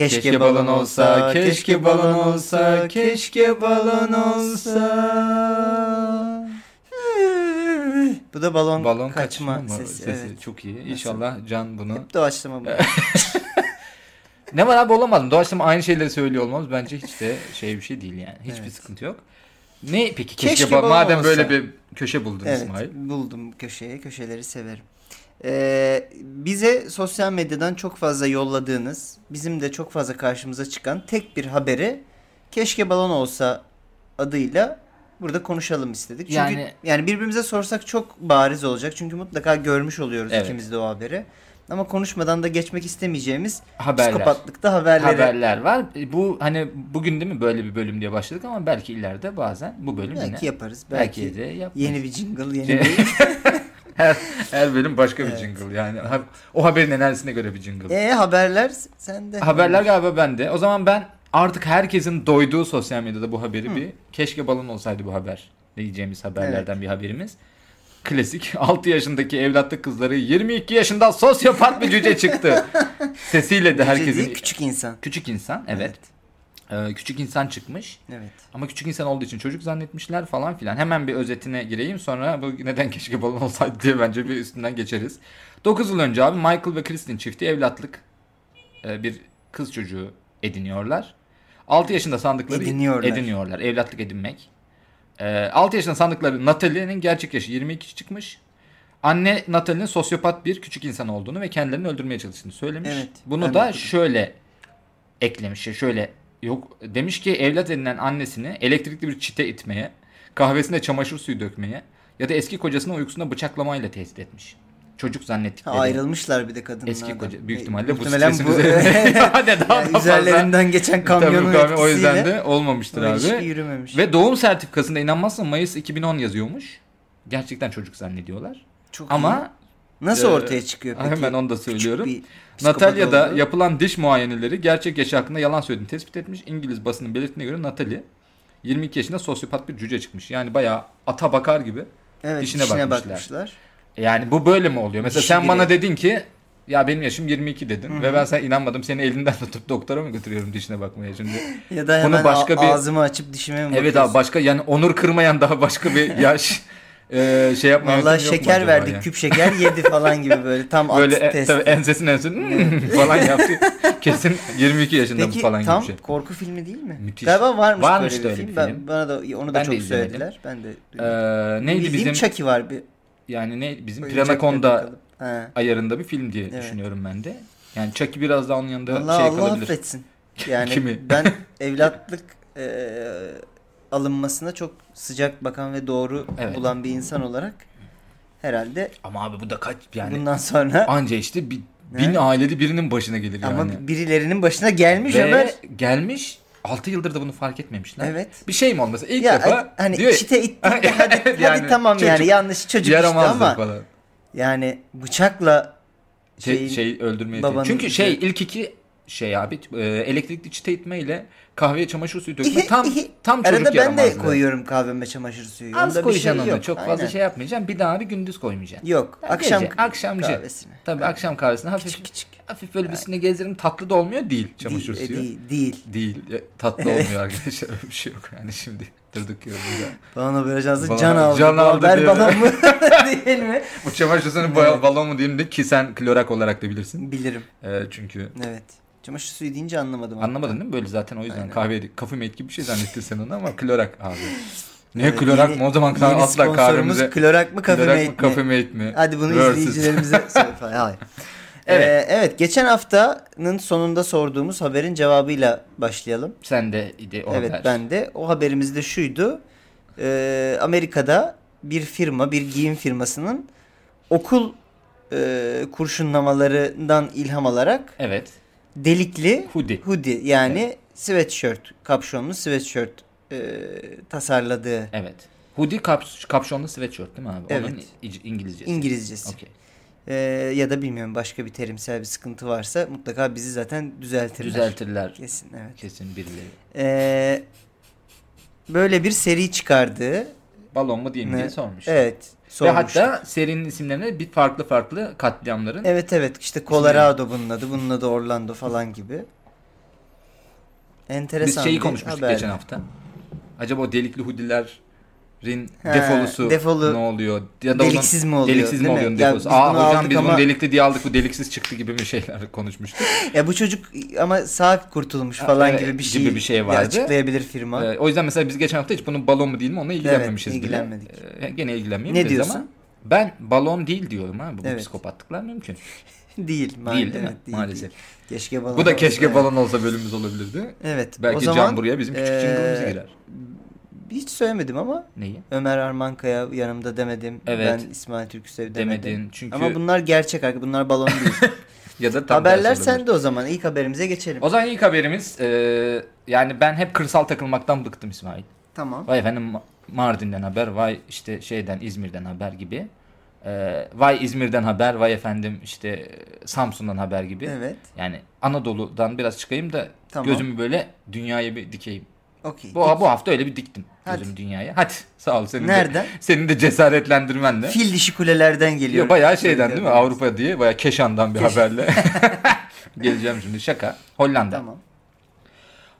Keşke, balon olsa, keşke balon olsa, keşke balon olsa. Bu da balon, Balon kaçma, sesi. Evet. Çok iyi. İnşallah Can bunu. Hep doğaçlama bu. Ne var abi olamadım. Doğaçlama aynı şeyleri söylüyor olmamız bence hiç de şey bir şey değil yani. Hiçbir Evet. sıkıntı yok. Ne peki keşke, Keşke ba- balon madem olsa. böyle bir köşe buldun evet, İsmail. buldum köşeyi. Köşeleri severim. Ee, bize sosyal medyadan çok fazla yolladığınız, bizim de çok fazla karşımıza çıkan tek bir haberi keşke balon olsa adıyla burada konuşalım istedik. Çünkü yani, Yani- birbirimize sorsak çok bariz olacak. Çünkü mutlaka görmüş oluyoruz Evet. ikimiz de o haberi. Ama konuşmadan da geçmek istemeyeceğimiz Haberler. psikopatlıkta haberleri. Haberler var. E, Bu hani bugün değil mi böyle bir bölüm diye başladık ama belki ileride bazen bu bölüm Belki yine. yaparız. Belki, belki, de yaparız. yeni bir jingle, yeni Ce- bir... her, her bölüm başka Evet. bir jingle yani. Ha- O haberin enerjisine göre bir jingle. E haberler sende. Haberler galiba bende. O zaman ben artık herkesin doyduğu sosyal medyada bu haberi bir keşke balon olsaydı bu haber diyeceğimiz haberlerden bir haberimiz. Klasik 6 yaşındaki evlatlık kızları 22 yaşında sosyopat bir cüce çıktı. Sesiyle de Cüce herkesin değil, küçük insan. küçük insan evet. Ee, küçük insan çıkmış. Evet. Ama küçük insan olduğu için çocuk zannetmişler falan filan. Hemen bir özetine gireyim sonra bu neden keşke balon olsaydı diye bence bir üstünden geçeriz. 9 yıl önce abi Michael ve Kristin çifti evlatlık e, bir kız çocuğu ediniyorlar. 6 yaşında sandıkları Ediniyorlar. ediniyorlar. Evlatlık edinmek. 6 yaşında sandıkları Natalie'nin gerçek yaşı 22 çıkmış. Anne Natalie'nin sosyopat bir küçük insan olduğunu ve kendilerini öldürmeye çalıştığını söylemiş. Evet, ben Bunu da okudum. şöyle eklemiş. ya Şöyle yok demiş ki evlat edinen annesini elektrikli bir çite itmeye, kahvesine çamaşır suyu dökmeye ya da eski kocasını uykusunda bıçaklamayla tehdit etmiş. Çocuk Ha, zannettikleri. ayrılmışlar bir de kadınlardan. Eski koca büyük E, ihtimalle bu muhtemelen stresin üzerine. Hani daha Yani da fazla- üzerlerinden geçen kamyonun Tabii bu kahve etkisiyle o yüzden de olmamıştır o ilişki abi. yürümemiş. Ve doğum sertifikasında inanmazsan Mayıs 2010 yazıyormuş. Gerçekten çocuk zannediyorlar. Çok Ama iyi. nasıl e, ortaya çıkıyor peki? hemen onu da Küçük söylüyorum. bir psikopat Natalya'da olduğu. yapılan diş muayeneleri gerçek yaşı hakkında yalan söylediğini tespit etmiş. İngiliz basının belirtine göre Natalie 22 yaşında sosyopat bir cüce çıkmış. Yani bayağı ata bakar gibi. evet, dişine bakmışlar. Yani bu böyle mi oluyor? Mesela Dişi sen bana direkt. dedin ki ya benim yaşım 22 dedin ve ben sana inanmadım. Seni elinden tutup doktora mı götürüyorum dişine bakmaya şimdi? Ya da Bunu hemen başka a- bir- ağzımı açıp dişime mi evet bakıyorsun? abi başka yani onur kırmayan daha başka bir yaş e, şey yapmaya Vallahi yöntem yok mu şeker acaba verdik yani? küp şeker yedi falan gibi böyle tam Böyle at e, test. tabii ensesin ensesin falan yaptı. Kesin 22 yaşında bu Peki falan gibi tam bir şey. korku filmi değil mi? Müthiş. Galiba varmış, Varmış böyle da bir öyle film. bir Ben, film. bana da onu da Ben de çok izlemedim. söylediler. Ben de duydum. Ee, neydi Bildiğim bizim Chucky var bir. yani ne bizim Oyuncak bir Piranakonda bakalım. He. ayarında ayarında bir film diye Evet. düşünüyorum ben de. Yani Chucky biraz daha onun yanında Allah şey Allah kalabilir. affetsin. Yani Kimi? ben evlatlık e, alınmasına çok sıcak bakan ve doğru Evet. bulan bir insan olarak herhalde Ama abi bu da kaç yani bundan sonra anca işte bir, Ne? bin ailede birinin başına gelir yani. ama birilerinin başına gelmiş Ve Ömer. gelmiş 6 yıldır da bunu fark etmemişler. Evet. Bir şey mi olmasa ilk Ya defa hani diyor ya, çite ittik de hadi, hadi Yani tamam yani çocuk yanlış çocuk işte yaramazdı ama falan. yani bıçakla şey, şeyin- şey öldürmeye babanın- tehdit. Çünkü şey ilk iki şey abi e, elektrikli çite itme ile kahveye çamaşır suyu dökme şey, tam tam çocuk Arada ben de yaramazdı. koyuyorum kahveme çamaşır suyu. Az Onda bir koyacaksın şey onu. yok. Çok fazla Aynen. şey yapmayacaksın. Bir daha bir gündüz koymayacaksın. Yok. Ya akşam gece, akşamcı. kahvesine. Tabii akşam kahvesine hafif Küçük küçük. hafif böyle bir sine gezdirim tatlı da olmuyor değil çamaşır değil, e, suyu. Değil. Değil, değil. Ya, tatlı olmuyor arkadaşlar. Öyle bir şey yok yani şimdi durduk yere burada. Balon haber ajansı Balon- can aldı. can Bu aldı haber diye. balon mu değil mi? Bu çamaşır suyunun ba- balon mu diyeyim de ki sen klorak olarak da bilirsin. Bilirim. Ee, çünkü Evet. Çamaşır suyu deyince anlamadım. anlamadın değil mi? Böyle zaten o yüzden Aynen. kahve kafe meyit gibi bir şey zannettin sen onu ama klorak abi. Ne Evet, klorak yeni- mı o zaman Yeni asla sponsorumuz kahvemize klorak mı kafe klorak mı mate mi? kafe meyit mi? Hadi bunu Versus. izleyicilerimize söyle falan. Hayır. Evet. Evet. evet geçen haftanın sonunda sorduğumuz haberin cevabıyla başlayalım. Sen de idi o evet haber. ben de. O haberimiz de şuydu. Ee, Amerika'da bir firma, bir giyim firmasının okul e, kurşunlamalarından ilham alarak Evet. delikli Hoodie. hoodie yani sweatshirt, kapşonlu sweatshirt e, tasarladığı Evet. Hoodie kaps kapşonlu sweatshirt değil mi abi? Onun Evet. İc- İngilizcesi. İngilizcesi. Okey. Ee, ya da bilmiyorum başka bir terimsel bir sıkıntı varsa mutlaka bizi zaten düzeltirler. Düzeltirler. Kesin evet. Kesin birileri. Ee, böyle bir seri çıkardığı. Balon mu diyeyim diye Ne? sormuş. Evet. Ve Sormuştuk. hatta serinin isimlerine bir farklı farklı katliamların Evet evet işte Colorado bunun adı bunun adı Orlando falan gibi. Enteresan Biz şeyi bir konuşmuştuk haberdi. geçen hafta. Acaba o delikli hudilerin Ha, defolusu defolu- ne oluyor? Ya Deliksiz mi oluyor, Deliksiz mi değil mi? Ya oluyor? Defosu. biz Aa bunu hocam aldık biz bunu ama- delikli diye aldık bu deliksiz çıktı gibi bir şeyler konuşmuştuk. Ya bu çocuk ama sağ kurtulmuş falan evet, gibi bir şey, gibi bir şey vardı. açıklayabilir firma. Ee, o yüzden mesela biz geçen hafta hiç bunun balon mu değil mi onunla ilgilenmemişiz bile. ilgilenmedik. Ee, gene Ne ilgilenmeyebiliriz diyorsun? ama ben balon değil diyorum abi. Bu Evet. psikopatlıklar mümkün. Değil, ma- değil değil mi? evet, değil, Maalesef. değil. Keşke balon. Bu da olsa. keşke balon olsa bölümümüz olabilirdi. Evet. Belki o zaman, ee, Can buraya bizim küçük eee, jingle'ımıza girer. Hiç söylemedim ama Neyi? Ömer Armankaya yanımda demedim. Evet. Ben İsmail Türküsev demedim. Demedin. Çünkü Ama bunlar gerçek arkadaşlar. Bunlar balon değil. ya da tam Haberler tersi olabilir. sende o zaman. İlk haberimize geçelim. O zaman ilk haberimiz eee, yani ben hep kırsal takılmaktan bıktım İsmail. Tamam. Vay efendim Ma- Mardin'den haber, vay işte şeyden İzmir'den haber gibi. Eee, vay İzmir'den haber, vay efendim işte eee, Samsun'dan haber gibi. Evet. Yani Anadolu'dan biraz çıkayım da Tamam. gözümü böyle dünyaya bir dikeyim. Okey. Bu, bu hafta öyle bir diktim Hadi. gözümü dünyaya. Hadi sağ ol senin Nereden? de. Senin de cesaretlendirmenle. Fil dişi kulelerden geliyor. Ya bayağı şeyden değil mi? Söylüyorum. Avrupa diye bayağı Keşan'dan bir Keşan. haberle. Geleceğim şimdi şaka. Hollanda. Tamam.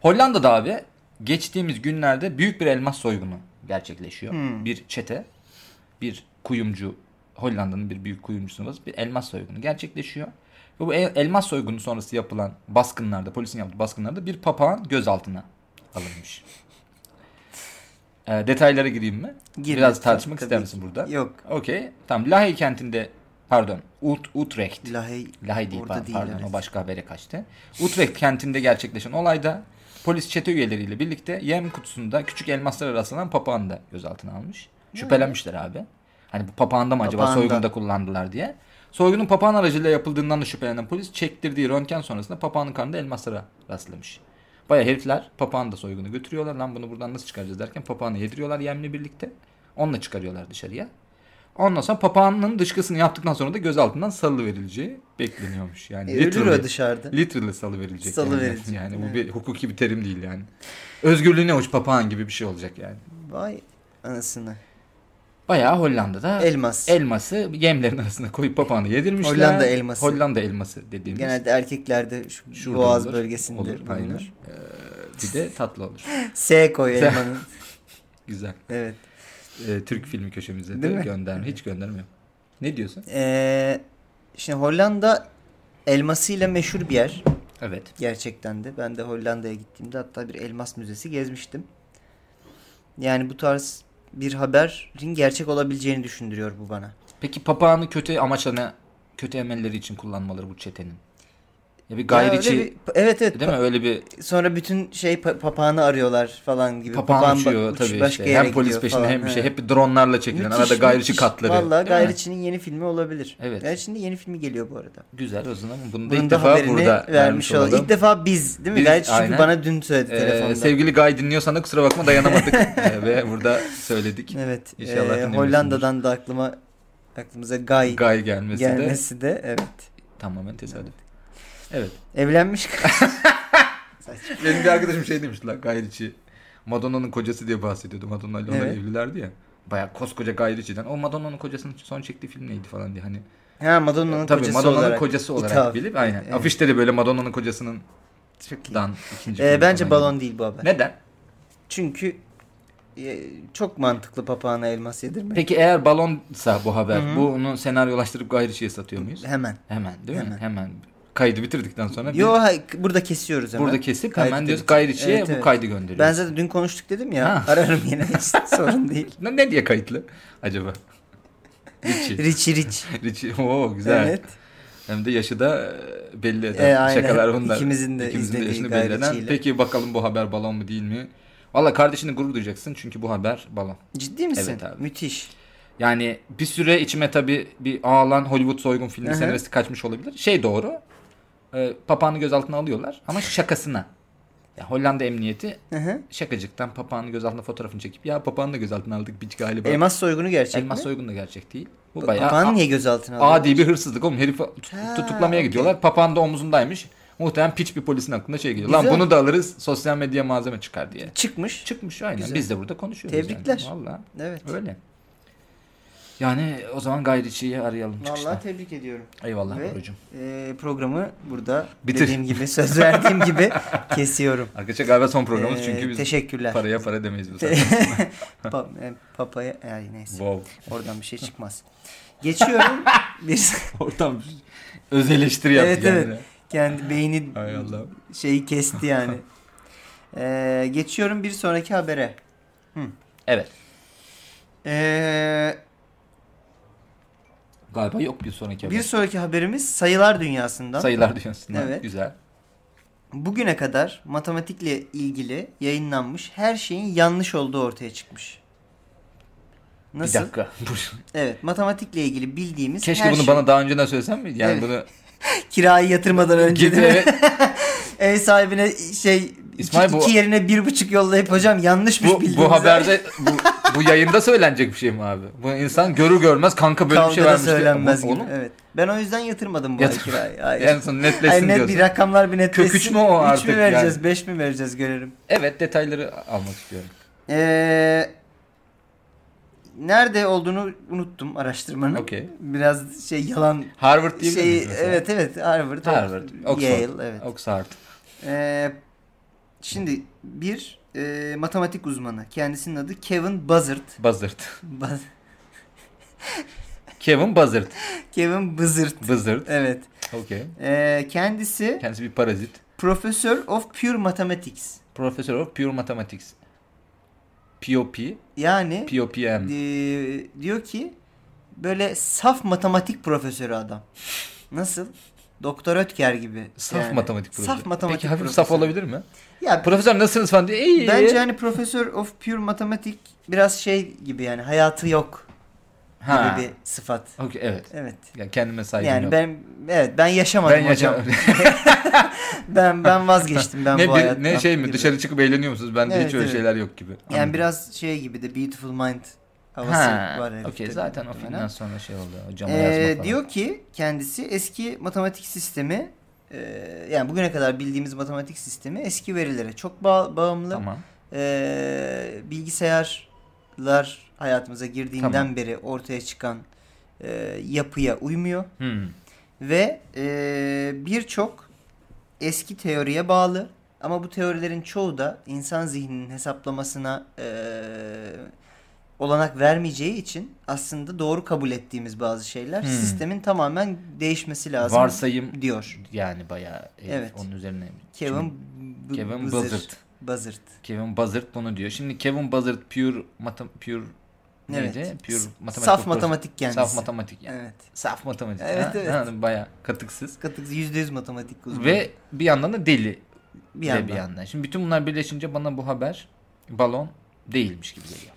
Hollanda'da abi geçtiğimiz günlerde büyük bir elmas soygunu gerçekleşiyor. Hmm. Bir çete, bir kuyumcu, Hollanda'nın bir büyük kuyumcusunuz bir elmas soygunu gerçekleşiyor. Ve bu el- elmas soygunu sonrası yapılan baskınlarda, polisin yaptığı baskınlarda bir papağan gözaltına alınmış. Ee, detaylara gireyim mi? Gir Biraz lütfen, tartışmak tabii ister ki. misin burada? Yok. Okey. Tamam. Lahey kentinde pardon, Ut Utrecht. Lahey. Lahey değil, Orada pa- değil, pardon evet. o başka habere kaçtı. Utrecht kentinde gerçekleşen olayda polis çete üyeleriyle birlikte yem kutusunda küçük elmaslara rastlanan papağanı da gözaltına almış. Şüphelenmişler abi. Hani bu papağanda mı acaba Papağanda. soygunda kullandılar diye. Soygunun papağan aracılığıyla yapıldığından da şüphelenen polis çektirdiği röntgen sonrasında papağanın karnında elmaslara rastlamış. Baya herifler papağanı da soygunu götürüyorlar. Lan bunu buradan nasıl çıkaracağız derken papağanı yediriyorlar yemle birlikte. Onunla çıkarıyorlar dışarıya. Ondan sonra papağanın dışkısını yaptıktan sonra da gözaltından salı verileceği bekleniyormuş. Yani E, ölür literally- o dışarıda. Literally salı verilecek. Salıverilecek. Yani, yani bu bir hukuki bir terim değil yani. Özgürlüğüne uç papağan gibi bir şey olacak yani. Vay anasını. Bayağı Hollanda'da Elmas. elması yemlerin arasında koyup papağanı yedirmişler. Hollanda elması. Hollanda elması dediğimiz. Genelde erkeklerde şu Şurada boğaz olur, bölgesinde olur, bulunur. aynen. Ee, bir de tatlı olur. S koy Sen- elmanın. Güzel. evet. Ee, Türk filmi köşemize de Değil mi? gönderme. Hiç gönderme yok. Ne diyorsun? Ee, şimdi Hollanda elmasıyla meşhur bir yer. Evet. Gerçekten de. Ben de Hollanda'ya gittiğimde hatta bir elmas müzesi gezmiştim. Yani bu tarz bir haberin gerçek olabileceğini düşündürüyor bu bana. Peki papağanı kötü amaçlarına, kötü emelleri için kullanmaları bu çetenin. Ya bir gayri Ya öyle içi, bir- evet evet. değil mi? Öyle bir Sonra bütün şey pa- papağanı arıyorlar falan gibi. papağan, Papağan uçuyor uç- tabii başka işte. yere Hem polis gidiyor peşinde falan. hem bir şey. He. Hep bir dronlarla çekilen. Müthiş, arada gayri içi müthiş. katları. Valla Değil mi? gayriçinin yeni filmi olabilir. Evet. Gayriçinin yeni filmi geliyor bu arada. Güzel o zaman bunu da Bunun ilk da defa haberini burada vermiş olalım. olalım. İlk defa biz değil mi? Biz, Gayriçi çünkü aynen. bana dün söyledi Ee, telefonda. sevgili Gay dinliyorsan da kusura bakma dayanamadık Ee, ve burada söyledik. Evet. İnşallah e, dinlemişsindir. Hollanda'dan da aklıma aklımıza Gay Gay gelmesi, de gelmesi de evet. tamamen tesadüf. Evet. Evlenmiş. Benim bir arkadaşım şey demişti lan Gay Ritchie. Madonna'nın kocası diye bahsediyordu. Madonna ile onlar Evet. evlilerdi ya. Bayağı koskoca Gay Ritchie'den. O Madonna'nın kocasının son çektiği film neydi falan diye. Hani ha Madonna'nın tabii kocası Madonna'nın olarak. kocası olarak hitap. bilip aynen. Evet. Afişte de böyle Madonna'nın kocasının Çok iyi. dan ikinci E, filmi bence falan gibi. balon değil bu haber. Neden? Çünkü e, çok mantıklı papağana elmas yedirmek. Peki eğer balonsa bu haber, bunu senaryolaştırıp Guy Ritchie'ye satıyor muyuz? Hemen. Hemen değil Hemen. mi? Hemen. Kaydı bitirdikten sonra bir Yo hay- burada kesiyoruz hemen. burada kesip Kaydı hemen diyoruz da Guy bitir- Ritchie'ye Evet, bu evet. kaydı gönderiyoruz. Ben zaten dün konuştuk dedim ya. Ha. Ararım yine. Hiç sorun değil. Ne, ne diye kayıtlı acaba? Ritchie. Richie Rich. Ritchie. Oo güzel. Evet. Hem de yaşı da e, belli eden E, aynen. şakalar bunlar. İkimizin de izlediği Guy Ritchie'yle. Peki bakalım bu haber balon mu değil mi? Valla kardeşini gurur duyacaksın çünkü bu haber balon. Ciddi misin? Evet abi. Müthiş. Yani bir süre içime tabii bir ağlan Hollywood soygun Hı filmi hı. senaristi kaçmış olabilir. Şey doğru. E, papağanı gözaltına alıyorlar ama şakasına. Ya Hollanda emniyeti Hı hı. şakacıktan papağanı gözaltına fotoğrafını çekip ya papağanı da gözaltına aldık biç galiba. Elmas, Elmas soygunu gerçek mi? soygun da gerçek değil. Bu bayağı Papağanı a- niye gözaltına alıyor? adi bir hırsızlık oğlum. Herifi tut- Ha, tutuklamaya gidiyorlar. Papağan da omuzundaymış. Muhtemelen piç bir polisin aklına şey geliyor. Lan Güzel. bunu da alırız sosyal medya malzeme çıkar diye. Çıkmış. Çıkmış aynen. Güzel. Biz de burada konuşuyoruz. Tebrikler. Yani. Valla Evet. öyle. Yani o zaman gayriçiyi arayalım çıkışta. Vallahi tebrik ediyorum. Eyvallah Ve- Borucuğum. Ee, programı burada Bitir. dediğim gibi söz verdiğim gibi kesiyorum. Arkadaşlar galiba son programımız Ee, çünkü biz teşekkürler. paraya para demeyiz bu Te- sefer. Pa- e, papaya ay neyse. wow. Oradan bir şey çıkmaz. Geçiyorum. bir Oradan bir öz eleştiri yaptı Evet, kendine. evet. kendi beyni Hay Allah. şeyi kesti yani. Ee, geçiyorum bir sonraki habere. Evet. Ee, Galiba yok bir sonraki bir haber. sonraki haberimiz sayılar dünyasından. Sayılar diyorsun. ha, Evet. Güzel. Bugüne kadar matematikle ilgili yayınlanmış her şeyin yanlış olduğu ortaya çıkmış. Nasıl? Bir dakika. Dur. Evet, matematikle ilgili bildiğimiz Keşke her bunu şey. bana daha önceden söylesen mi? Yani Evet. bunu kirayı yatırmadan önce gidin de eve ev sahibine şey İsmail, iki, bu- iki yerine bir buçuk yollayıp hocam yanlışmış bu, bildiğiniz bu haberde bu, bu yayında söylenecek bir şey mi abi? Bu insan görür görmez kanka böyle bir şey kavgada vermiş. diye- söylenmez Bu- gibi. oğlum, Evet. Ben o yüzden yatırmadım bu ay Yatır- kirayı. Hayır. En son netleşsin Ay, net diyorsun. bir rakamlar bir netleşsin. Kök üç mü o Üç mü artık vereceğiz, yani? beş mi vereceğiz görelim. Evet detayları almak istiyorum. Ee, nerede olduğunu unuttum araştırmanın. Okey. Biraz şey yalan Harvard diyebilir şey miyiz mesela? evet evet Harvard, Harvard, Oxford, Yale evet. Oxford. Ee, şimdi bir e, matematik uzmanı kendisinin adı Kevin Buzzard. Buzzard. Baz- Kevin Buzzard. Kevin Buzzard. Buzzard. Evet. Okey. Ee, kendisi Kendisi bir parazit. Professor of Pure Mathematics. Professor of Pure Mathematics. POP. Yani POPM. e, diyor ki böyle saf matematik profesörü adam. Nasıl? Doktor Ötker gibi. Saf yani. matematik profesörü. Saf matematik Peki hafif saf profesörü. olabilir mi? Ya Profesör nasılsınız falan diye. İyi. bence hani Professor of Pure Mathematics biraz şey gibi yani hayatı yok ha. gibi bir sıfat. Okey evet. Evet. Yani kendime saygım Yani yok. ben evet ben yaşamadım hocam. yaşa- Ben ben vazgeçtim ben ne, bu bir- hayattan. ne şey mi gibi. dışarı çıkıp eğleniyor musunuz? Bende Evet, hiç öyle evet. şeyler yok gibi. Yani Anladım. biraz şey gibi de Beautiful Mind havası ha, var. herifte Okey zaten o muhtemelen. filmden sonra şey oldu. Hocam Ee, yazma falan. diyor ki kendisi eski matematik sistemi e, yani bugüne kadar bildiğimiz matematik sistemi eski verilere çok ba- bağımlı. Tamam. E, bilgisayarlar hayatımıza girdiğinden Tamam. beri ortaya çıkan e, yapıya uymuyor Hmm. ve e, birçok eski teoriye bağlı ama bu teorilerin çoğu da insan zihninin hesaplamasına e, olanak vermeyeceği için aslında doğru kabul ettiğimiz bazı şeyler Hmm. sistemin tamamen değişmesi lazım Varsayım diyor yani bayağı herif Evet. onun üzerine. Şimdi Kevin, B- Kevin Buzzard. Buzzard. Buzzard. Kevin Buzzard bunu diyor. Şimdi Kevin Buzzard pure matem pure neydi? Evet. Pure S- matematik. Saf profesör- matematik kendisi. Saf matematik yani. Evet. Saf matematik. Evet, ha? evet. Ha, bayağı katıksız. Katık %100 matematik uzmanı. Ve bir yandan da deli bir de yandan. bir yandan. Şimdi bütün bunlar birleşince bana bu haber balon değilmiş gibi geliyor.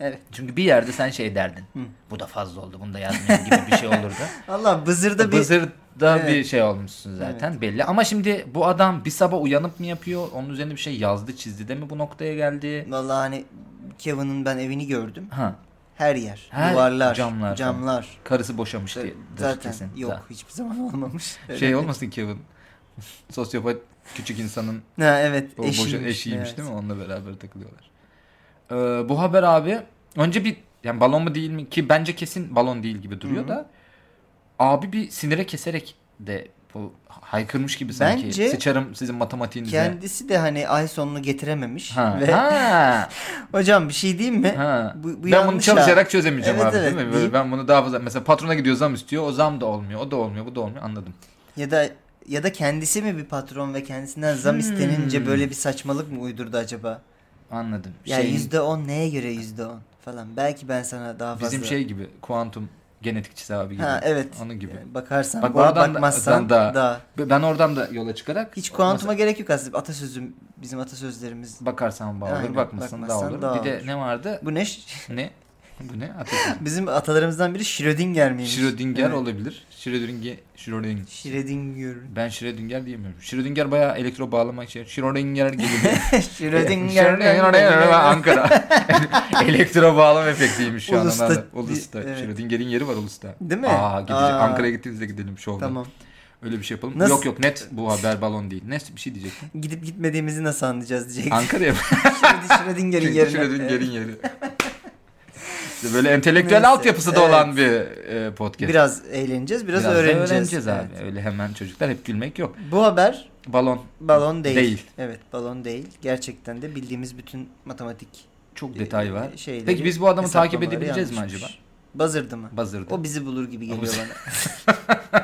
Evet. Çünkü bir yerde sen şey derdin. Bu da fazla oldu. Bunu da yazmayayım gibi bir şey olurdu. Allah Buzzard'da bir Buzzard'da Evet. bir şey olmuşsun zaten belli. Ama şimdi bu adam bir sabah uyanıp mı yapıyor? Onun üzerine bir şey yazdı çizdi de mi bu noktaya geldi? Vallahi hani Kevin'in ben evini gördüm. Ha. Her yer. Her- duvarlar. camlar falan. Camlar. Karısı boşamış diye. Zaten kesin. yok. Zaten. Hiçbir zaman olmamış. Şey olmasın Kevin. Sosyopat küçük insanın Ha, evet. o boşa eşiymiş, eşiymiş evet. değil mi? Onunla beraber takılıyorlar. Ee, bu haber abi önce bir yani balon mu değil mi ki bence kesin balon değil gibi duruyor Hı hı. da abi bir sinire keserek de bu haykırmış gibi sanki. Bence- Sıçarım sizin matematiğinize. Kendisi de hani ay sonunu getirememiş. Ha. Ve ha. hocam bir şey diyeyim mi? Ha. Bu- bu ben bunu yanlış çalışarak ha. çözemeyeceğim Evet, abi evet, değil mi? deyip- Ben bunu daha fazla mesela patrona gidiyor zam istiyor. O zam da olmuyor. O da olmuyor. Bu da olmuyor. Anladım. Ya da ya da kendisi mi bir patron ve kendisinden zam Hmm. istenince böyle bir saçmalık mı uydurdu acaba? Anladım. Şey, Ya Şeyin- yüzde on neye göre yüzde on falan. Belki ben sana daha fazla. bizim şey gibi kuantum genetikçisi abi gibi. Ha evet. Onun gibi. Yani bakarsan Bak boğa oradan da- bakmazsan oradan da- daha. Ben oradan da yola çıkarak Hiç kuantuma gerek yok aslında. Atasözüm bizim atasözlerimiz Mesela bakarsan bağ olur, Aynen, bakmasan da bakmazsan olur. dağ bir de olur. ne vardı? Bu ne? Ş- ne? Bu ne? Ateşin. Bizim atalarımızdan biri Schrödinger miymiş? Schrödinger Evet. olabilir. Schrödinger Schrödinger. Schrödinger. Ben Schrödinger diyemiyorum. Schrödinger bayağı elektro bağlama şey. Schrödinger gibi. bir- Schrödinger. Ankara. Elektro bağlam efektiymiş şu an. Ulus'ta- Ulus'ta. Ulus'ta. Evet. Schrödinger'in yeri var Ulus'ta. Değil mi? Aa, gideceğiz. Aa. Ankara'ya gittiğimizde gidelim şovda. tamam. Öyle bir şey yapalım. Nasıl- Yok yok net bu haber balon değil. Net bir şey diyecektim. Gidip gitmediğimizi nasıl anlayacağız diyecek. Ankara'ya Schrödinger'in yerine. Schrödinger'in yeri. İşte böyle entelektüel Neyse, altyapısı da evet. olan bir e, podcast. Biraz eğleneceğiz, biraz, da öğreneceğiz. abi. Evet. Öyle hemen çocuklar hep gülmek yok. Bu haber Balon balon değil. Değil. Evet, balon değil. Gerçekten de bildiğimiz bütün matematik e, çok detay var. şeyleri, Peki biz bu adamı takip hesaplamaları edebileceğiz mi yanlışmış. acaba? Buzzard'ı mı? Buzzard'ı. e, O bizi bulur gibi geliyor bizi- bana.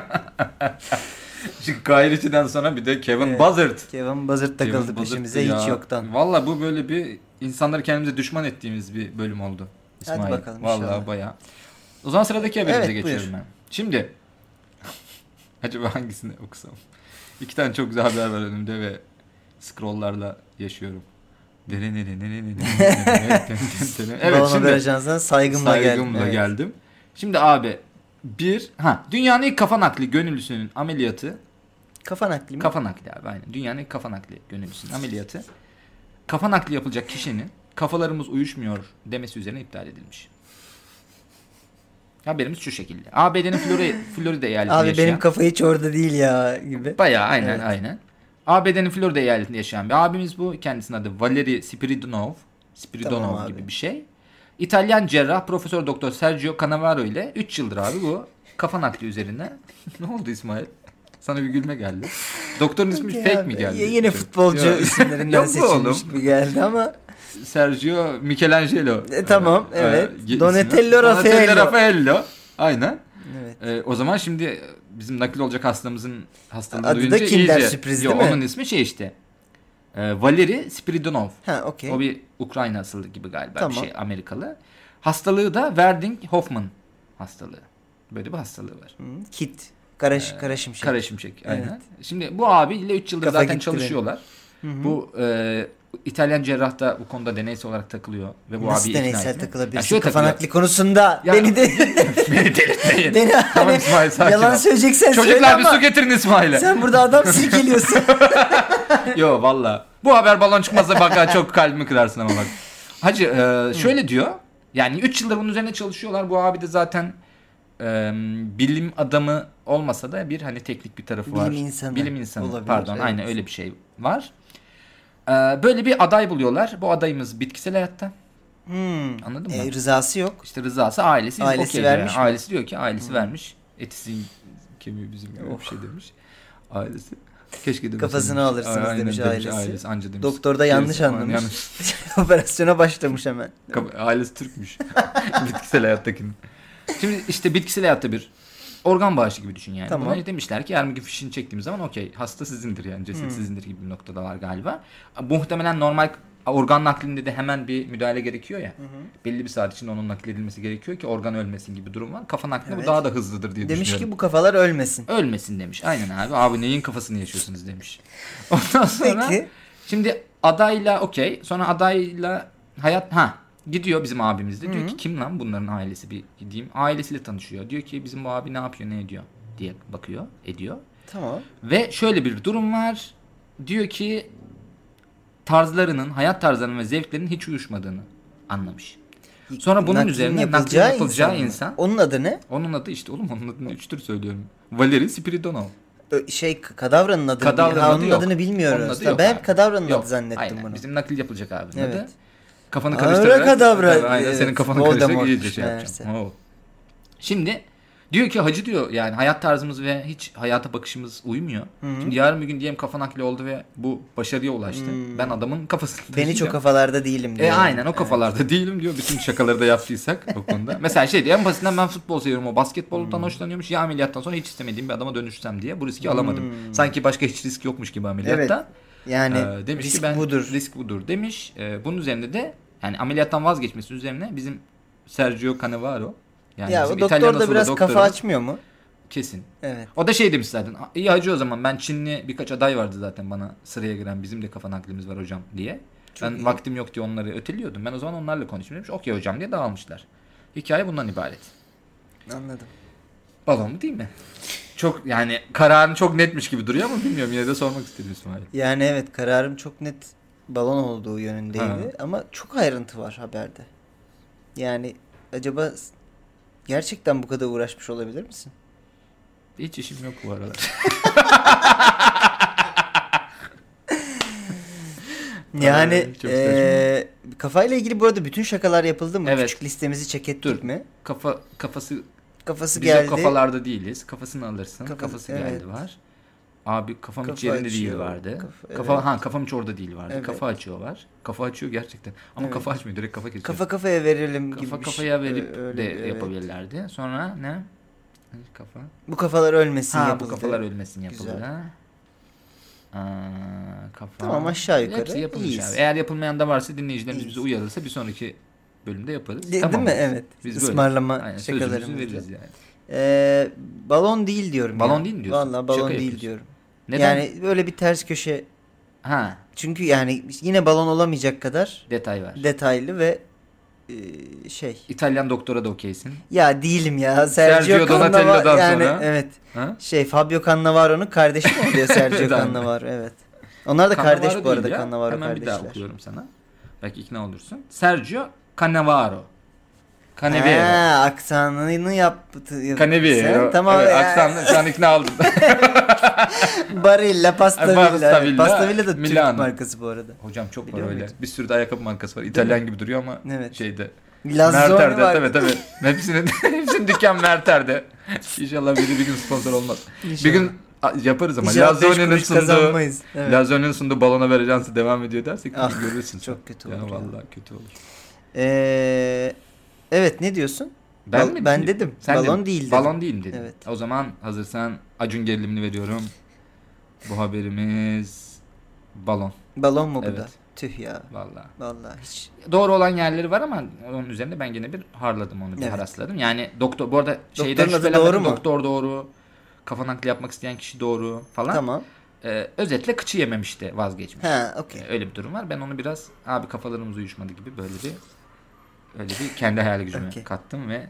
Çünkü Kairiçi'den sonra bir de Kevin Evet. Buzzard. Kevin Buzzard takıldı Kevin peşimize Buzzard'tı hiç ya. yoktan. Valla bu böyle bir insanları kendimize düşman ettiğimiz bir bölüm oldu. Hadi İsmail. bakalım inşallah. Valla bayağı. O zaman sıradaki haberimize Evet, geçiyorum buyur. ben. Şimdi acaba hangisini okusam? İki tane çok güzel haber var önümde ve scrolllarla yaşıyorum. Evet, evet Balon Haber şimdi Ajansı'na saygımla, saygımla geldim. Evet. geldim. Şimdi abi bir ha dünyanın ilk kafa nakli gönüllüsünün ameliyatı Kafa nakli mi? kafa nakli abi aynen dünyanın ilk kafa nakli gönüllüsünün ameliyatı kafa nakli yapılacak kişinin kafalarımız uyuşmuyor demesi üzerine iptal edilmiş. Haberimiz şu şekilde. ABD'nin Florida, Florida eyaletinde Abi yaşayan... benim kafa hiç orada değil ya gibi. Bayağı aynen Evet. aynen. ABD'nin Florida eyaletinde yaşayan bir abimiz bu. Kendisinin adı Valeri Spiridonov. Spiridonov Tamam abi. gibi bir şey. İtalyan cerrah Profesör Doktor Sergio Canavaro ile 3 yıldır abi bu kafa nakli üzerine. ne oldu İsmail? Sana bir gülme geldi. Doktorun ismi Ya fake abi, mi geldi? Yine Çok- futbolcu Yok. isimlerinden Yok bu oğlum. seçilmiş gibi geldi ama Sergio Michelangelo. E, tamam, Ee, evet. e, ge- Donatello ismi. Raffaello. Raffaello. Aynen. evet. Ee, o zaman şimdi bizim nakil olacak hastamızın hastalığını Adı da duyunca Kinder iyice. sürpriz Yo, değil mi? Onun ismi şey işte. Ee, Valeri Spiridonov. Ha okey. O bir Ukrayna asıllı gibi galiba Tamam. bir şey Amerikalı. Hastalığı da Werding-Hoffman hastalığı. Böyle bir hastalığı var. Hı, Kit. Karaş, Ee, karaşım şey. Kara şimşek. Aynen. Evet. Şimdi bu abiyle 3 yıldır Kafa zaten gitti çalışıyorlar. Bu e, İtalyan cerrah da bu konuda deneysel olarak takılıyor ve bu Nasıl abi deneysel takılabilirsin? şöyle kafa takılıyor. nakli konusunda Ya- beni de Beni delirtmeyin. beni Tamam hani İsmail sakin yalan ol. söyleyeceksen söyle Çocuklar bir ama su getirin İsmail'e. sen burada adam silkeliyorsun. Yo valla. Bu haber balon çıkmazsa bak ha, çok kalbimi kırarsın ama bak. Hacı e, şöyle diyor. Yani 3 yıldır bunun üzerine çalışıyorlar. Bu abi de zaten e, bilim adamı olmasa da bir hani teknik bir tarafı var. Bilim insanı Bilim insanı. olabilir, Pardon evet. aynen öyle bir şey var. E, böyle bir aday buluyorlar. Bu adayımız bitkisel hayatta. Hmm. Anladın mı? E, rızası yok. İşte rızası ailesi. Ailesi okey vermiş yani. mi? Ailesi diyor ki ailesi vermiş. Etisin kemiği bizim gibi Oh. bir şey demiş. Ailesi. Keşke demiş. Kafasını demiş. alırsınız Aynen demiş ailesi. Anca demiş. Doktor da Gerisi yanlış falan anlamış. yanlış. Operasyona başlamış hemen. Kap- Ailesi Türkmüş. bitkisel hayattakinin. Şimdi işte bitkisel hayatta bir organ bağışı gibi düşün yani. Tamam. Buna demişler ki yarın bir gün fişini çektiğim zaman okey hasta sizindir yani ceset Hmm. sizindir gibi bir noktada var galiba. Muhtemelen normal organ naklinde de hemen bir müdahale gerekiyor ya. Belli bir saat içinde onun nakledilmesi gerekiyor ki organ ölmesin gibi durum var. Kafa naklinde Evet. bu daha da hızlıdır diye Demiş E, düşünüyorum. ki bu kafalar ölmesin. Ölmesin demiş. Aynen abi. Abi neyin kafasını yaşıyorsunuz demiş. Ondan sonra Peki. şimdi adayla okey. Sonra adayla hayat ha gidiyor bizim abimiz de. Diyor ki kim lan bunların ailesi bir gideyim. Ailesiyle tanışıyor. Diyor ki bizim bu abi ne yapıyor ne ediyor diye bakıyor ediyor. Tamam. Ve şöyle bir durum var. Diyor ki tarzlarının, hayat tarzlarının ve zevklerinin hiç uyuşmadığını anlamış. Sonra bunun Naklin üzerine naklin yapılacağı, yapılacağı insan. mı? insan. Onun adı ne? Onun adı işte oğlum onun adını üç tür söylüyorum. Valeri Spiridonov. Ö- Şey kadavranın adı. Kadavranın Ha, adı onun yok. adını bilmiyoruz. Onun adı Ha, yok ben abi. kadavranın Yok, adı zannettim aynen. bunu. Bizim nakil yapılacak abi. Evet. Evet. Kafanı Avra karıştırarak. kadavra. Tabii, Aynen Evet, senin kafanı Voldemort karıştırarak iyice şey meğerse. yapacağım. Oo. Şimdi diyor ki hacı diyor yani hayat tarzımız ve hiç hayata bakışımız uymuyor. Şimdi yarın bir gün diyelim kafa nakli oldu ve bu başarıya ulaştı. Ben adamın kafasını Hmm. Beni çok taşıyacağım. kafalarda değilim diyor. E aynen o kafalarda değilim diyor. Bütün şakaları da yaptıysak o konuda. Mesela şey diyor en basitinden ben futbol seviyorum o Hmm. basketboldan hoşlanıyormuş. Ya ameliyattan sonra hiç istemediğim bir adama dönüşsem diye bu riski Hmm. alamadım. Sanki başka hiç risk yokmuş gibi ameliyatta. Yani Ee, demiş Hani risk ki ben budur. risk budur demiş. Ee, bunun üzerinde de yani ameliyattan vazgeçmesi üzerine bizim Sergio Cannavaro yani ya bizim o doktor İtalyan da asıllı biraz doktorumuz kafa açmıyor mu? kesin. Evet. O da şey demiş zaten. İyi hacı o zaman ben Çinli birkaç aday vardı zaten bana sıraya giren bizim de kafa naklimiz var hocam diye. Çok ben iyi. vaktim yok diye onları öteliyordum. Ben o zaman onlarla konuştum demiş. Okey hocam diye dağılmışlar. Hikaye bundan ibaret. Anladım. Balon mu değil mi? Çok yani kararın çok netmiş gibi duruyor ama bilmiyorum yine de sormak istedim İsmail. Yani evet kararım çok net balon olduğu yönündeydi Ha. ama çok ayrıntı var haberde. Yani acaba s- gerçekten bu kadar uğraşmış olabilir misin? Hiç işim yok bu aralar. Yani çok eee kafayla ilgili burada bütün şakalar yapıldı mı? Evet. Küçük listemizi check ettik Dur. mi? Kafa kafası Kafası biz geldi. o kafalarda değiliz. Kafasını alırsın. Kafası- Kafası, evet. geldi var. Abi kafam hiç Kafa yerinde değil açıyor, vardı. kafa- kafa evet. ha kafam hiç orada değil vardı. Evet. Kafa açıyor var. Kafa açıyor gerçekten. Ama Evet. kafa açmıyor direkt kafa kesiyor. Kafa kafaya verelim gibi. kafa bir şey. kafaya verip Ö- öyle de bir- evet. yapabilirlerdi. Sonra ne? Kafa. Bu kafalar ölmesin Ha yapıldı. bu kafalar ölmesin yapıldı. Güzel. Aa, kafa. Tamam, aşağı yukarı Hepsi yapılmış iyiyiz. abi. Eğer yapılmayan da varsa dinleyicilerimiz İyiyiz. bize uyarırsa bir sonraki bölümde yaparız. De- tamam. Değil mi? Evet. Biz böyle. Ismarlama Aynen, sözümüzü şakalarımız. veririz yani. Eee, balon değil diyorum. Balon ya. değil mi diyorsun? Vallahi Şaka balon değil yapıyorsun. diyorum. Neden? Yani böyle bir ters köşe. ha Çünkü yani yine balon olamayacak kadar detay var. detaylı ve eee, şey. İtalyan doktora da okeysin. Ya değilim ya. Sergio, Sergio Cannavaro Donatella'dan yani sonra. evet. Ha? Şey Fabio Cannavaro'nun kardeşi mi oluyor Sergio Evet, aynen. Cannavaro? Evet. Onlar da Cannavaro kardeş bu değil arada ya. Cannavaro Hemen kardeşler. bir daha okuyorum sana. Belki ikna olursun. Sergio Cannavaro. Cannavaro. Ha, aksanını yaptı. Cannavaro. Sen tamam e, evet, ya. aksanlı- şu an ikna oldum. Barilla, Pastavilla. Pastavilla, Pastavilla, Pastavilla da Türk Milano. markası bu arada. Hocam çok var Biliyor öyle. muydun? Bir sürü de ayakkabı markası var. İtalyan gibi duruyor ama Evet. şeyde. Lazzoni Merter'de var. tabii tabii. Hepsinin, hepsinin dükkan Merter'de. İnşallah biri bir gün sponsor olmaz. Bir gün a- yaparız ama. İnşallah beş Lazoni'nin kuruş sunduğu, kazanmayız. Evet. Lazoni'nin sunduğu balona ver ajansı devam ediyor dersek bir Ah, görürsün. sen. çok kötü Ya olur ya. vallahi kötü olur. Ee, evet ne diyorsun? Bal- ben dedim. Balon değil dedim. Balon değil dedim. Evet. O zaman hazırsan Acun gerilimini veriyorum. Bu haberimiz balon Balon mu bu da? Evet. Tüh ya. vallahi. Vallahi hiç. Doğru olan yerleri var ama onun üzerinde ben gene bir harladım onu, bir Evet. harasladım. Yani doktor bu arada şeyden Doktorun adı şüphelenmedim. doğru mu? Doktor doğru. Kafa nakli yapmak isteyen kişi doğru falan. Tamam. Ee, özetle kıçı yememişti vazgeçmiş. Ha Ee, okey. öyle bir durum var. Ben onu biraz abi kafalarımız uyuşmadı gibi böyle bir öyle bir kendi hayal gücüme Okey. kattım ve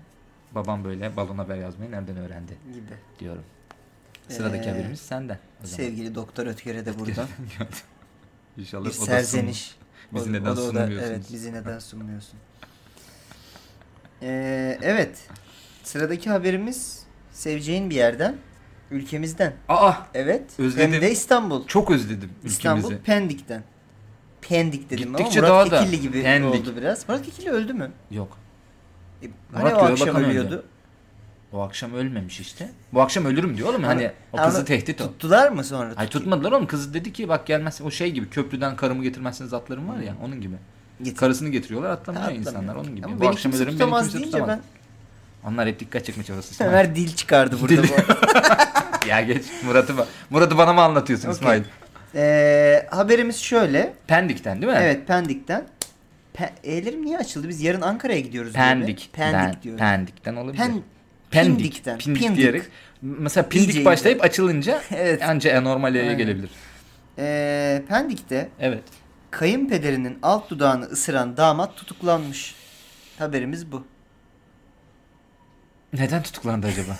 babam böyle balon haber yazmayı nereden öğrendi Gibi. diyorum. Sıradaki Ee, haberimiz senden. o zaman. Sevgili Doktor Ötker'e de buradan İnşallah bir o da sunmuş. serzeniş. Bizi O- neden o da- o da- sunmuyorsunuz? Evet bizi neden sunmuyorsun? Ee, evet. Sıradaki haberimiz seveceğin bir yerden. Ülkemizden. Aa Evet. Hem Özledim. de İstanbul. çok özledim İstanbul ülkemizi. Pendik'ten. Pendik dedim Gittikçe ama Murat daha da Kekilli gibi Pendik. oldu biraz. Murat Kekilli öldü mü? Yok. E, hani Murat o Göğe akşam Bakan öldü. ölüyordu. Bu akşam ölmemiş işte. Bu akşam ölürüm diyor oğlum hani o Ama kızı tehdit o. Tuttular mı sonra? Ay tutmadılar oğlum kızı dedi ki bak gelmezsin o şey gibi köprüden karımı getirmezseniz atlarım var ya onun gibi. Git. Karısını getiriyorlar atlamıyor Hmm. Atlamıyor. insanlar onun gibi. Ama Bu beni akşam kimse ölürüm beni tutamaz kimse deyince tutamaz. ben Onlar hep dikkat çekme çabası. İsmail. Ömer dil çıkardı burada Dil- bu arada. ya geç Murat'ı ba- Murat'ı bana mı anlatıyorsun Okey. İsmail? Ee, haberimiz şöyle. Pendik'ten değil mi? Evet Pendik'ten. Pe- E'lerim niye açıldı? Biz yarın Ankara'ya gidiyoruz. diyor be. Pendik. Pendik diyoruz. Pendik'ten olabilir. Pen- Pendik. Pendik'ten. Pindik, Pindik. diyerek. Mesela pindik İyice başlayıp açılınca Evet. anca anormal E'ye Aynen. gelebilir. Ee, Pendik'te Evet. kayınpederinin alt dudağını ısıran damat tutuklanmış. Haberimiz bu. Neden tutuklandı acaba?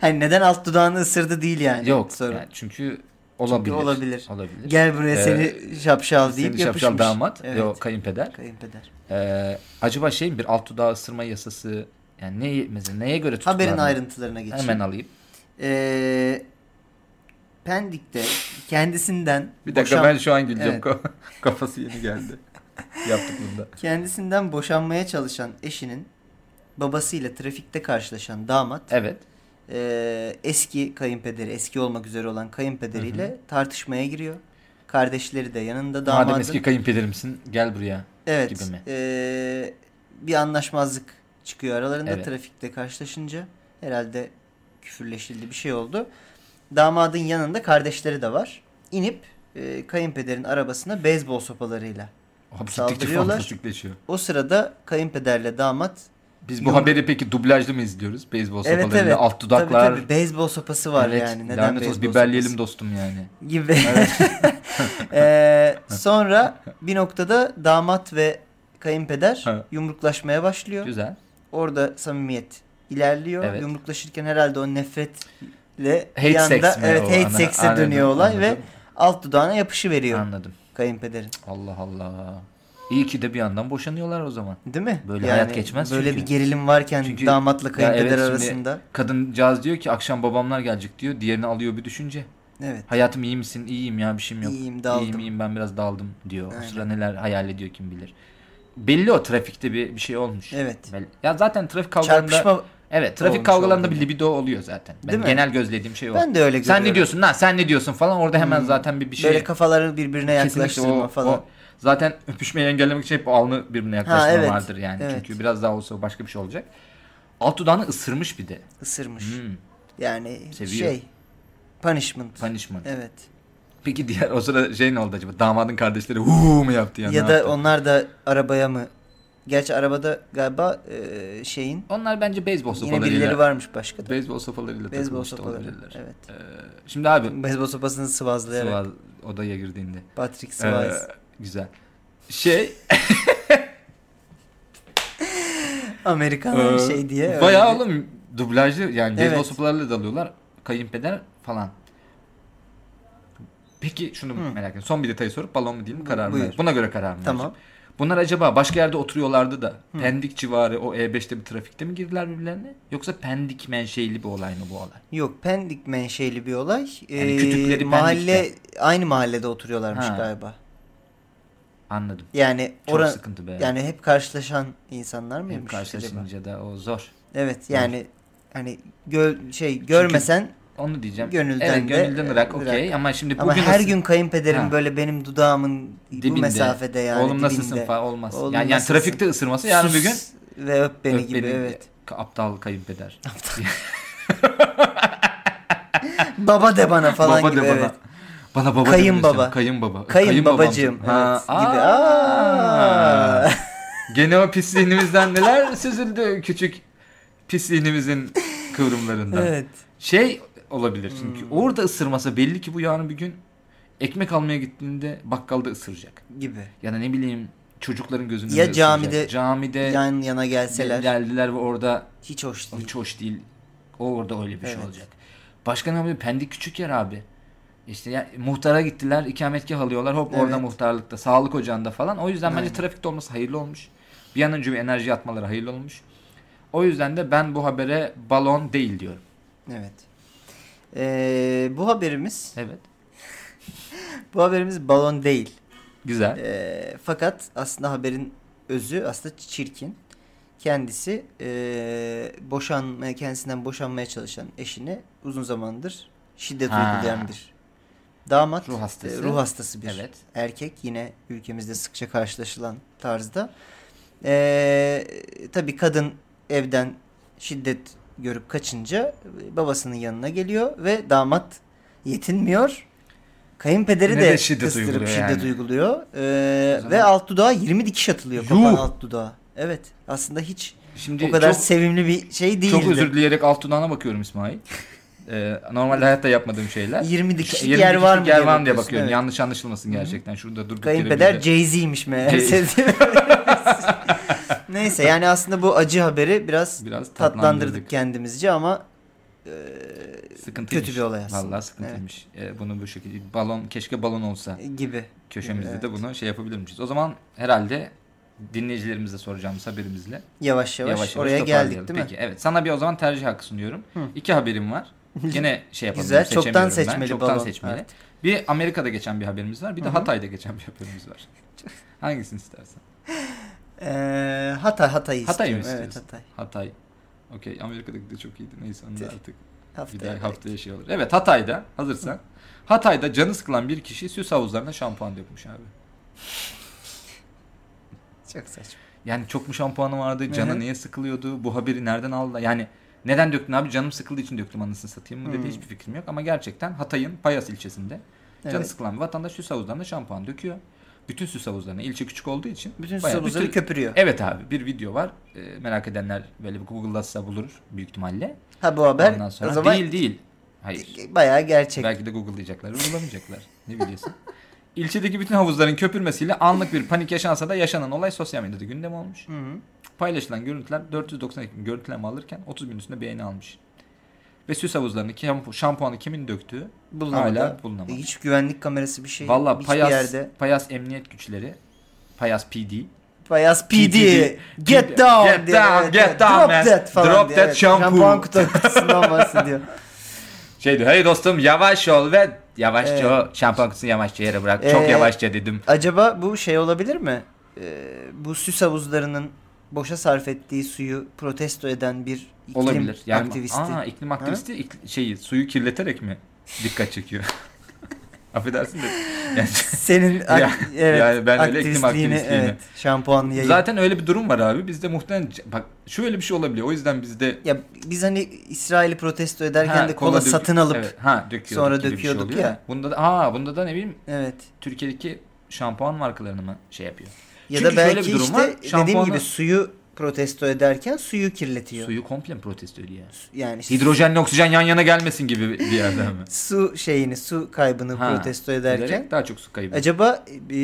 Hani neden alt dudağını ısırdı değil yani. Yok. Sorun. yani çünkü olabilir. olabilir. Olabilir. Gel buraya Ee, seni şapşal deyip Senin yapışmış. şapşal damat. Evet. Yok kayınpeder. Kayınpeder. Ee, acaba şeyin bir alt dudağı ısırma yasası yani neye, mesela neye göre tutuklandı? Haberin ayrıntılarına geçeyim. Hemen alayım. Ee, Pendik'te kendisinden Bir dakika boşan- ben şu an güleceğim. Evet. Kafası yeni geldi. Yaptık bunda. kendisinden boşanmaya çalışan eşinin babasıyla trafikte karşılaşan damat Evet. ee, eski kayınpederi, eski olmak üzere olan kayınpederiyle tartışmaya giriyor. Kardeşleri de yanında damadın. Madem eski kayınpederimsin gel buraya. Evet. gibi mi? eee, bir anlaşmazlık çıkıyor aralarında Evet. trafikte karşılaşınca. Herhalde küfürleşildi bir şey oldu. Damadın yanında kardeşleri de var. İnip eee, kayınpederin arabasına beyzbol sopalarıyla. Abi gittikçe Saldırıyorlar. fantastikleşiyor. O sırada kayınpederle damat Biz bu Yok. haberi peki dublajlı mı izliyoruz? Beyzbol evet sopalarıyla evet alt dudaklar. Tabii, tabii, beyzbol sopası var Evet, yani. Neden lanet olsun beyzbol biberleyelim sopası? dostum yani. gibi. Eee, sonra bir noktada damat ve kayınpeder Evet. yumruklaşmaya başlıyor. Güzel. Orada samimiyet ilerliyor. Evet. Yumruklaşırken herhalde o nefretle bir Hate anda sex mi evet o? hate Ana- sex'e anladım, dönüyor olay ve anladım. alt dudağına yapışı veriyor Anladım. kayınpederin. Allah Allah. İyi ki de bir yandan boşanıyorlar o zaman. Değil mi? Böyle hayat geçmez Böyle çünkü. bir gerilim varken Çünkü- damatla Ya kayınpeder evet, şimdi arasında. Kadıncağız diyor ki akşam babamlar gelecek diyor. Diğerini alıyor bir düşünce. Evet. Hayatım iyi misin? İyiyim ya bir şeyim yok. İyiyim, daldım. İyiyim iyiyim ben biraz daldım diyor. Aynen. O sıra neler hayal ediyor kim bilir. Belli o trafikte bir, bir şey olmuş. Evet. Bel- Ya zaten trafik kavgalarında Çarpışma evet trafik olmuş kavgalarında bir oldu. libido oluyor zaten. Ben Değil mi? genel gözlediğim şey o. ben de öyle görüyorum. Hmm. sen ne diyorsun lan sen ne diyorsun falan orada hemen zaten bir bir şey Böyle kafaları birbirine Kesinlikle yaklaştırma o- falan. o- zaten öpüşmeyi engellemek için hep alnı birbirine yaklaştırma evet, vardır yani. evet. Çünkü biraz daha olsa başka bir şey olacak. Alt dudağını ısırmış bir de. ısırmış. Hmm, Yani Seviyor. şey punishment. punishment. Evet. Peki diğer o sıra şey ne oldu acaba? Damadın kardeşleri huu mu yaptı yani? Ya da onlar da arabaya mı? Gerçi arabada galiba e, şeyin Onlar bence beyzbol yine birileri sopalarıyla. varmış başka da. Beyzbol sopalarıyla Beyzbol takılmış da sopaları. olabilirler. Evet. Ee, şimdi abi Beyzbol sopasını sıvazlayarak. Sıvaz odaya girdiğinde. Patrick Ee, Swayze. güzel. Şey Amerikan Ee, şey diye. Bayağı öyle. oğlum dublajlı yani Evet. beyzbol sopalarıyla dalıyorlar. Kayınpeder falan. Peki şunu Hı. merak ediyorum. Son bir detayı sorup balon mu değil mi Bu- karar mı? buyur. ver? Buna göre karar mı? Tamam. vereceğim? Bunlar acaba başka yerde oturuyorlardı da Pendik civarı o E5'te bir trafikte mi girdiler birbirlerine? Yoksa Pendik menşeili bir olay mı bu olay? Yok Pendik menşeli bir olay. Yani Ee, kütükleri mahalle aynı mahallede oturuyorlarmış Ha. galiba. Anladım. Yani Çok oran sıkıntı be. yani hep karşılaşan insanlar Hem mıymış acaba? karşılaşınca da o zor. Evet yani hani gö- şey görmesen Onu diyeceğim. Gönülden evet, de- gönülden ırak Irak. okey ama şimdi bugün ama her nasıl- gün kayınpederim Ha. böyle benim dudağımın bu Dibinde. mesafede yani oğlum nasılsın dibinde. falan olmaz. Oğlum yani, yani nasılsın? trafikte ısırması yarın bir gün Sus ve öp beni Öp gibi beni. evet. Ka- aptal kayınpeder. Baba de bana falan baba gibi de bana. evet. Bana baba Kayın demiyorsun. baba. Kayın baba. Kayın babamsın. babacığım Ha, evet gibi. aa. Aa. Gene o pisliğinizden neler süzüldü küçük pisliğinizin kıvrımlarından. evet. Hmm. Şey olabilir çünkü orada ısırmasa belli ki bu yarın bir gün ekmek almaya gittiğinde bakkalda ısıracak. gibi. Ya da ne bileyim çocukların gözünde Ya de ısıracak. camide- camide Yan yana gelseler geldiler ve orada hiç hoş değil. Hiç hoş değil. O orada öyle bir şey Evet. olacak. Başka ne yapıyor? Pendik küçük yer abi. İşte ya, muhtara gittiler, ikametgah alıyorlar. Hop orada Evet. muhtarlıkta, sağlık ocağında falan. O yüzden Aynen. bence trafikte olması hayırlı olmuş. Bir an önce bir enerji atmaları hayırlı olmuş. O yüzden de ben bu habere balon değil diyorum. Evet. Ee, bu haberimiz Evet. bu haberimiz balon değil. Güzel. Ee, fakat aslında haberin özü aslında çirkin. Kendisi ee, boşanmaya kendisinden boşanmaya çalışan eşini uzun zamandır şiddet Ha. uygulayan bir damat Ruh hastası. e, ruh hastası bir Evet. erkek yine ülkemizde sıkça karşılaşılan tarzda. Ee, tabii kadın evden şiddet görüp kaçınca e, babasının yanına geliyor ve damat yetinmiyor. Kayınpederi Ne de, de şiddet kıstırıp uyguluyor şiddet yani. uyguluyor. Ee, O zaman- ve alt dudağa 20 dikiş atılıyor kopan Yuh! alt dudağa. Evet aslında hiç Şimdi o kadar çok, sevimli bir şey değildi. çok özür dileyerek alt dudağına bakıyorum İsmail. Ee, normalde hayatta yapmadığım şeyler. 20 dikişlik Yirmi yer var mı dikişlik yer diye var mı diye bakıyorsun, bakıyorum. evet. Yanlış anlaşılmasın gerçekten. Şurada durduk yere bir Kayınpeder de- Jay-Z'ymiş meğer. Jay- sevdiğim. Neyse yani aslında bu acı haberi biraz, Biraz tatlandırdık tatlandırdık. kendimizce ama e, Sıkıntıymış. Kötü bir olay aslında. Vallahi sıkıntıymış. Ee, bunu bu şekilde balon keşke balon olsa. gibi. Köşemizde E, Evet. de bunu şey yapabilirmişiz. O zaman herhalde dinleyicilerimize soracağımız haberimizle Yavaş yavaş, yavaş yavaş oraya toparlayalım. geldik değil mi? Peki evet sana bir o zaman tercih hakkı sunuyorum. İki haberim var. Gene şey yapalım. Güzel, çoktan seçemiyorum ben. seçmeli Çoktan balon. seçmeli. Evet. Bir Amerika'da geçen bir haberimiz var. Bir de Hatay'da geçen bir haberimiz var. Hangisini istersen. Ee, Hatay Hatay'ı Hatay mı istiyorum. Evet istiyorsun? Hatay. Hatay. Okey Amerika'daki de çok iyiydi. Neyse onu da artık bir Haftaya. daha haftaya şey olur. Evet Hatay'da hazırsan. Hatay'da canı sıkılan bir kişi süs havuzlarına şampuan dökmüş abi. Çok saçma. Yani çok mu şampuanı vardı? Hı Canı hı. niye sıkılıyordu? Bu haberi nereden aldı? Yani neden döktün abi? Canım sıkıldığı için döktüm anasını satayım mı dedi. Hmm. Hiçbir fikrim yok. Ama gerçekten Hatay'ın Payas ilçesinde canı Evet. sıkılan bir vatandaş süs havuzlarına şampuan döküyor. Bütün süs havuzlarına. ilçe küçük olduğu için. Bütün bayağı sabuzları bütün- köpürüyor. Evet abi bir video var. Ee, merak edenler böyle bir Google'da bulur büyük ihtimalle. Ha bu haber Ondan sonra o zaman değil değil. Hayır. bayağı gerçek. Belki de Google'layacaklar, bulamayacaklar. Ne biliyorsun? İlçedeki bütün havuzların köpürmesiyle anlık bir panik yaşansa da yaşanan olay sosyal medyada gündem olmuş. Hı hı. Paylaşılan görüntüler 492 bin görüntülenme alırken 30 bin üstünde beğeni almış. Ve süs havuzlarını kim- şampuanı kimin döktüğü Bulunamadı. hala bulunamadı. Hiç güvenlik kamerası bir şey. Valla hiçbir Payas, yerde. Payas Emniyet Güçleri, Payas PD. Payas PD. Get Get down. down, diye, get down, Drop man. that falan Drop diye, that evet. shampoo. Şampuan kutu- kutusundan bahsediyor. Şey diyor hey dostum yavaş ol ve Yavaşça Evet. o şampuan kutusunu yavaşça yere bırak. Çok Ee, yavaşça dedim. Acaba bu şey olabilir mi? Ee, bu süs havuzlarının boşa sarf ettiği suyu protesto eden bir iklim Olabilir. Yani, aktivisti. Aa, iklim aktivisti ik- şeyi suyu kirleterek mi dikkat çekiyor? Affedersin de. Yani- Senin ak- Ya- evet, yani ben öyle iklim aktivistliğini, aktivistliğini. evet, şampuanlı yayın. Zaten öyle bir durum var abi. Bizde muhtemelen bak şöyle bir şey olabiliyor. O yüzden bizde Ya biz hani İsrail'i protesto ederken Ha, de kola, dök- satın alıp evet. evet, ha, döküyorduk sonra gibi bir şey döküyorduk oluyor. ya. Bunda da aa bunda da ne bileyim Türkiye'deki şampuan markalarını mı şey yapıyor? Ya Çünkü da şöyle belki bir durum işte var, dediğim şampuanı- gibi suyu protesto ederken suyu kirletiyor. Suyu komple mi protesto ediyor? Yani işte Hidrojenle oksijen yan yana gelmesin gibi bir yerde mi? su şeyini, su kaybını Ha, protesto ederken Giderek daha çok su kaybı. Acaba e,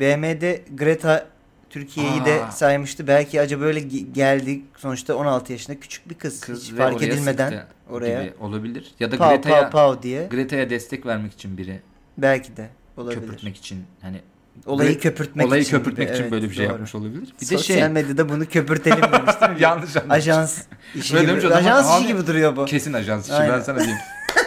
BM'de Greta Türkiye'yi de Aa. saymıştı. Belki acaba böyle ge- geldi. Sonuçta 16 yaşında küçük bir kız. Hiç ve fark oraya edilmeden sıktı oraya gibi olabilir. Ya da pav pav Greta'ya pav diye Greta'ya destek vermek için biri belki de olabilir. köpürtmek için hani Olayı Gre- köpürtmek olayı için. köpürtmek gibi. için Evet, böyle bir şey doğru. yapmış olabilir. Bir de Sosyal şey medyada bunu köpürtelim demiş değil mi? yanlış anladım. Ajans işi Böyle demiş o gibi. zaman, Ajans abi- işi gibi duruyor bu. Kesin ajans işi Aynen. ben sana diyeyim.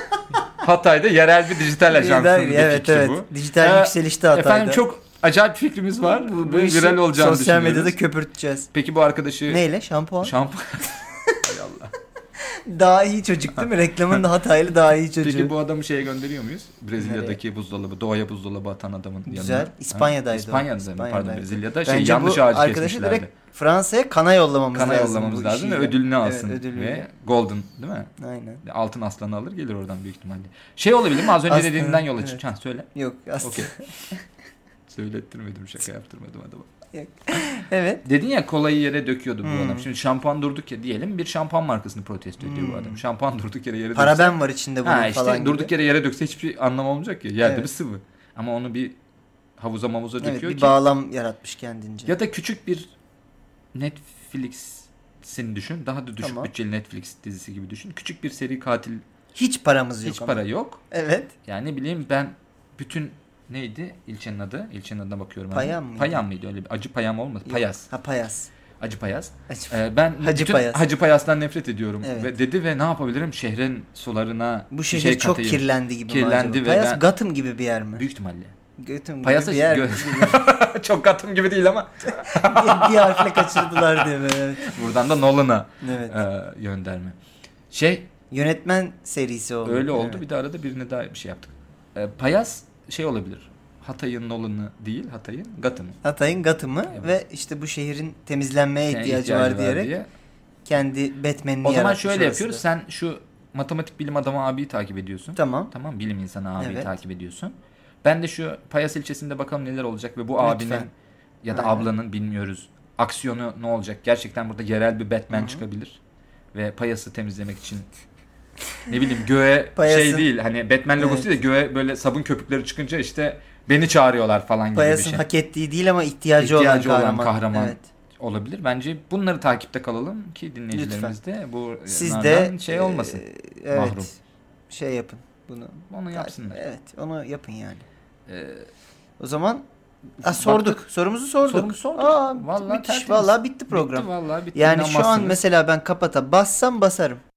Hatay'da yerel bir dijital ajansının Evet bir evet. fikri bu. Dijital Ee, yükselişte hataydı. Efendim çok acayip fikrimiz var. Bu, işi viral olacağını Sosyal düşünüyoruz. medyada köpürteceğiz. Peki bu arkadaşı Neyle? Şampuan? şampuan... Hay Allah. Daha iyi çocuk değil mi? Reklamın da hataylı daha iyi çocuğu. Peki bu adamı şeye gönderiyor muyuz? Brezilya'daki buzdolabı, doğaya buzdolabı atan adamın Güzel. yanına. Ha, İspanya'daydı o. İspanya'da, pardon İspanya'daydı. Brezilya'da. Şey, Bence yanlış bu ağacı arkadaşı kesmişlerdi. direkt Fransa'ya kana yollamamız Kana lazım. yollamamız bu lazım ve işiyle. ödülünü alsın. Evet, ödülünü. Ve golden değil mi? Aynen. Altın aslanı alır gelir oradan büyük ihtimalle. Şey olabilir mi? Az önce Aslanı, dediğinden yola çık. evet. Ha, söyle. Yok aslında. Okey. Söylettirmedim şaka yaptırmadım adama. evet. Dedin ya kolayı yere döküyordu bu Hmm. adam. Şimdi şampuan durduk ya diyelim bir şampuan markasını protesto ediyor Hmm. bu adam. Şampuan durduk yere yere dökse. Paraben var içinde bunun Ha işte falan durduk gibi. yere yere dökse hiçbir anlam olmayacak ya. Yerde Evet. bir sıvı. Ama onu bir havuza mavuza Evet, döküyor bir ki. bağlam yaratmış kendince. Ya da küçük bir Netflix'in düşün. Daha da düşük Tamam. bütçeli Netflix dizisi gibi düşün. Küçük bir seri katil Hiç paramız yok hiç ama. para yok. Evet. Yani ne bileyim ben bütün neydi ilçenin adı? İlçenin adına bakıyorum. hemen. Payam mıydı? Payam mıydı? Öyle bir acı payam olmadı. Yok. Payas. Ha payas. Acı payas. Açık. Ee, ben Hacı bütün Payas. Hacı Payas'tan nefret ediyorum. Evet. Ve dedi ve ne yapabilirim? Şehrin sularına Bu bir şehir şey çok katayım. kirlendi gibi mi Kirlendi acaba? ve Payas ben- Gotham gibi bir yer mi? Büyük ihtimalle. Gotham gibi Payasa bir yer mi? gö- çok katım gibi değil ama bir harfle kaçırdılar diye böyle. Evet. buradan da Nolan'a evet. e, gönderme. Şey Yönetmen serisi oldu. öyle oldu. Evet. Bir de arada birine daha bir şey yaptık. E, Payas şey olabilir. Hatay'ın Nolan'ı değil Hatay'ın Gotham'ı. Hatay'ın Gotham'ı Evet. ve işte bu şehrin temizlenmeye Yani ihtiyacı, var diyerek diye. kendi Batman'ini O zaman yaratmış şöyle orası yapıyoruz. da. Sen şu matematik bilim adamı abiyi takip ediyorsun. Tamam. Tamam bilim insanı abiyi Evet. takip ediyorsun. Ben de şu Payas ilçesinde bakalım neler olacak ve bu Lütfen. abinin ya da Aynen. ablanın bilmiyoruz aksiyonu ne olacak? Gerçekten burada yerel bir Batman çıkabilir ve Payas'ı temizlemek için ne bileyim göğe şey Payas'ın- değil hani Batman logosu Evet. değil de göğe böyle sabun köpükleri çıkınca işte beni çağırıyorlar falan gibi Payas'ın bir şey hak ettiği değil ama ihtiyacı, İhtiyacı olan olan kahraman. kahraman. Evet. olabilir. Bence bunları takipte kalalım ki dinleyicilerimiz de bu Siz nardan de Ee, şey olmasın. e, evet. Mahrum. Şey yapın bunu. Onu yapsınlar. Evet, onu yapın yani. Ee, O zaman Ha, sorduk. Sorumuzu sorduk. Sorumuzu sorduk. Aa, Vallahi vallahi müthiş. tertemiz. Vallahi bitti program. Bitti vallahi bitti. yani şu an İnanmazsınız. mesela ben kapata bassam basarım.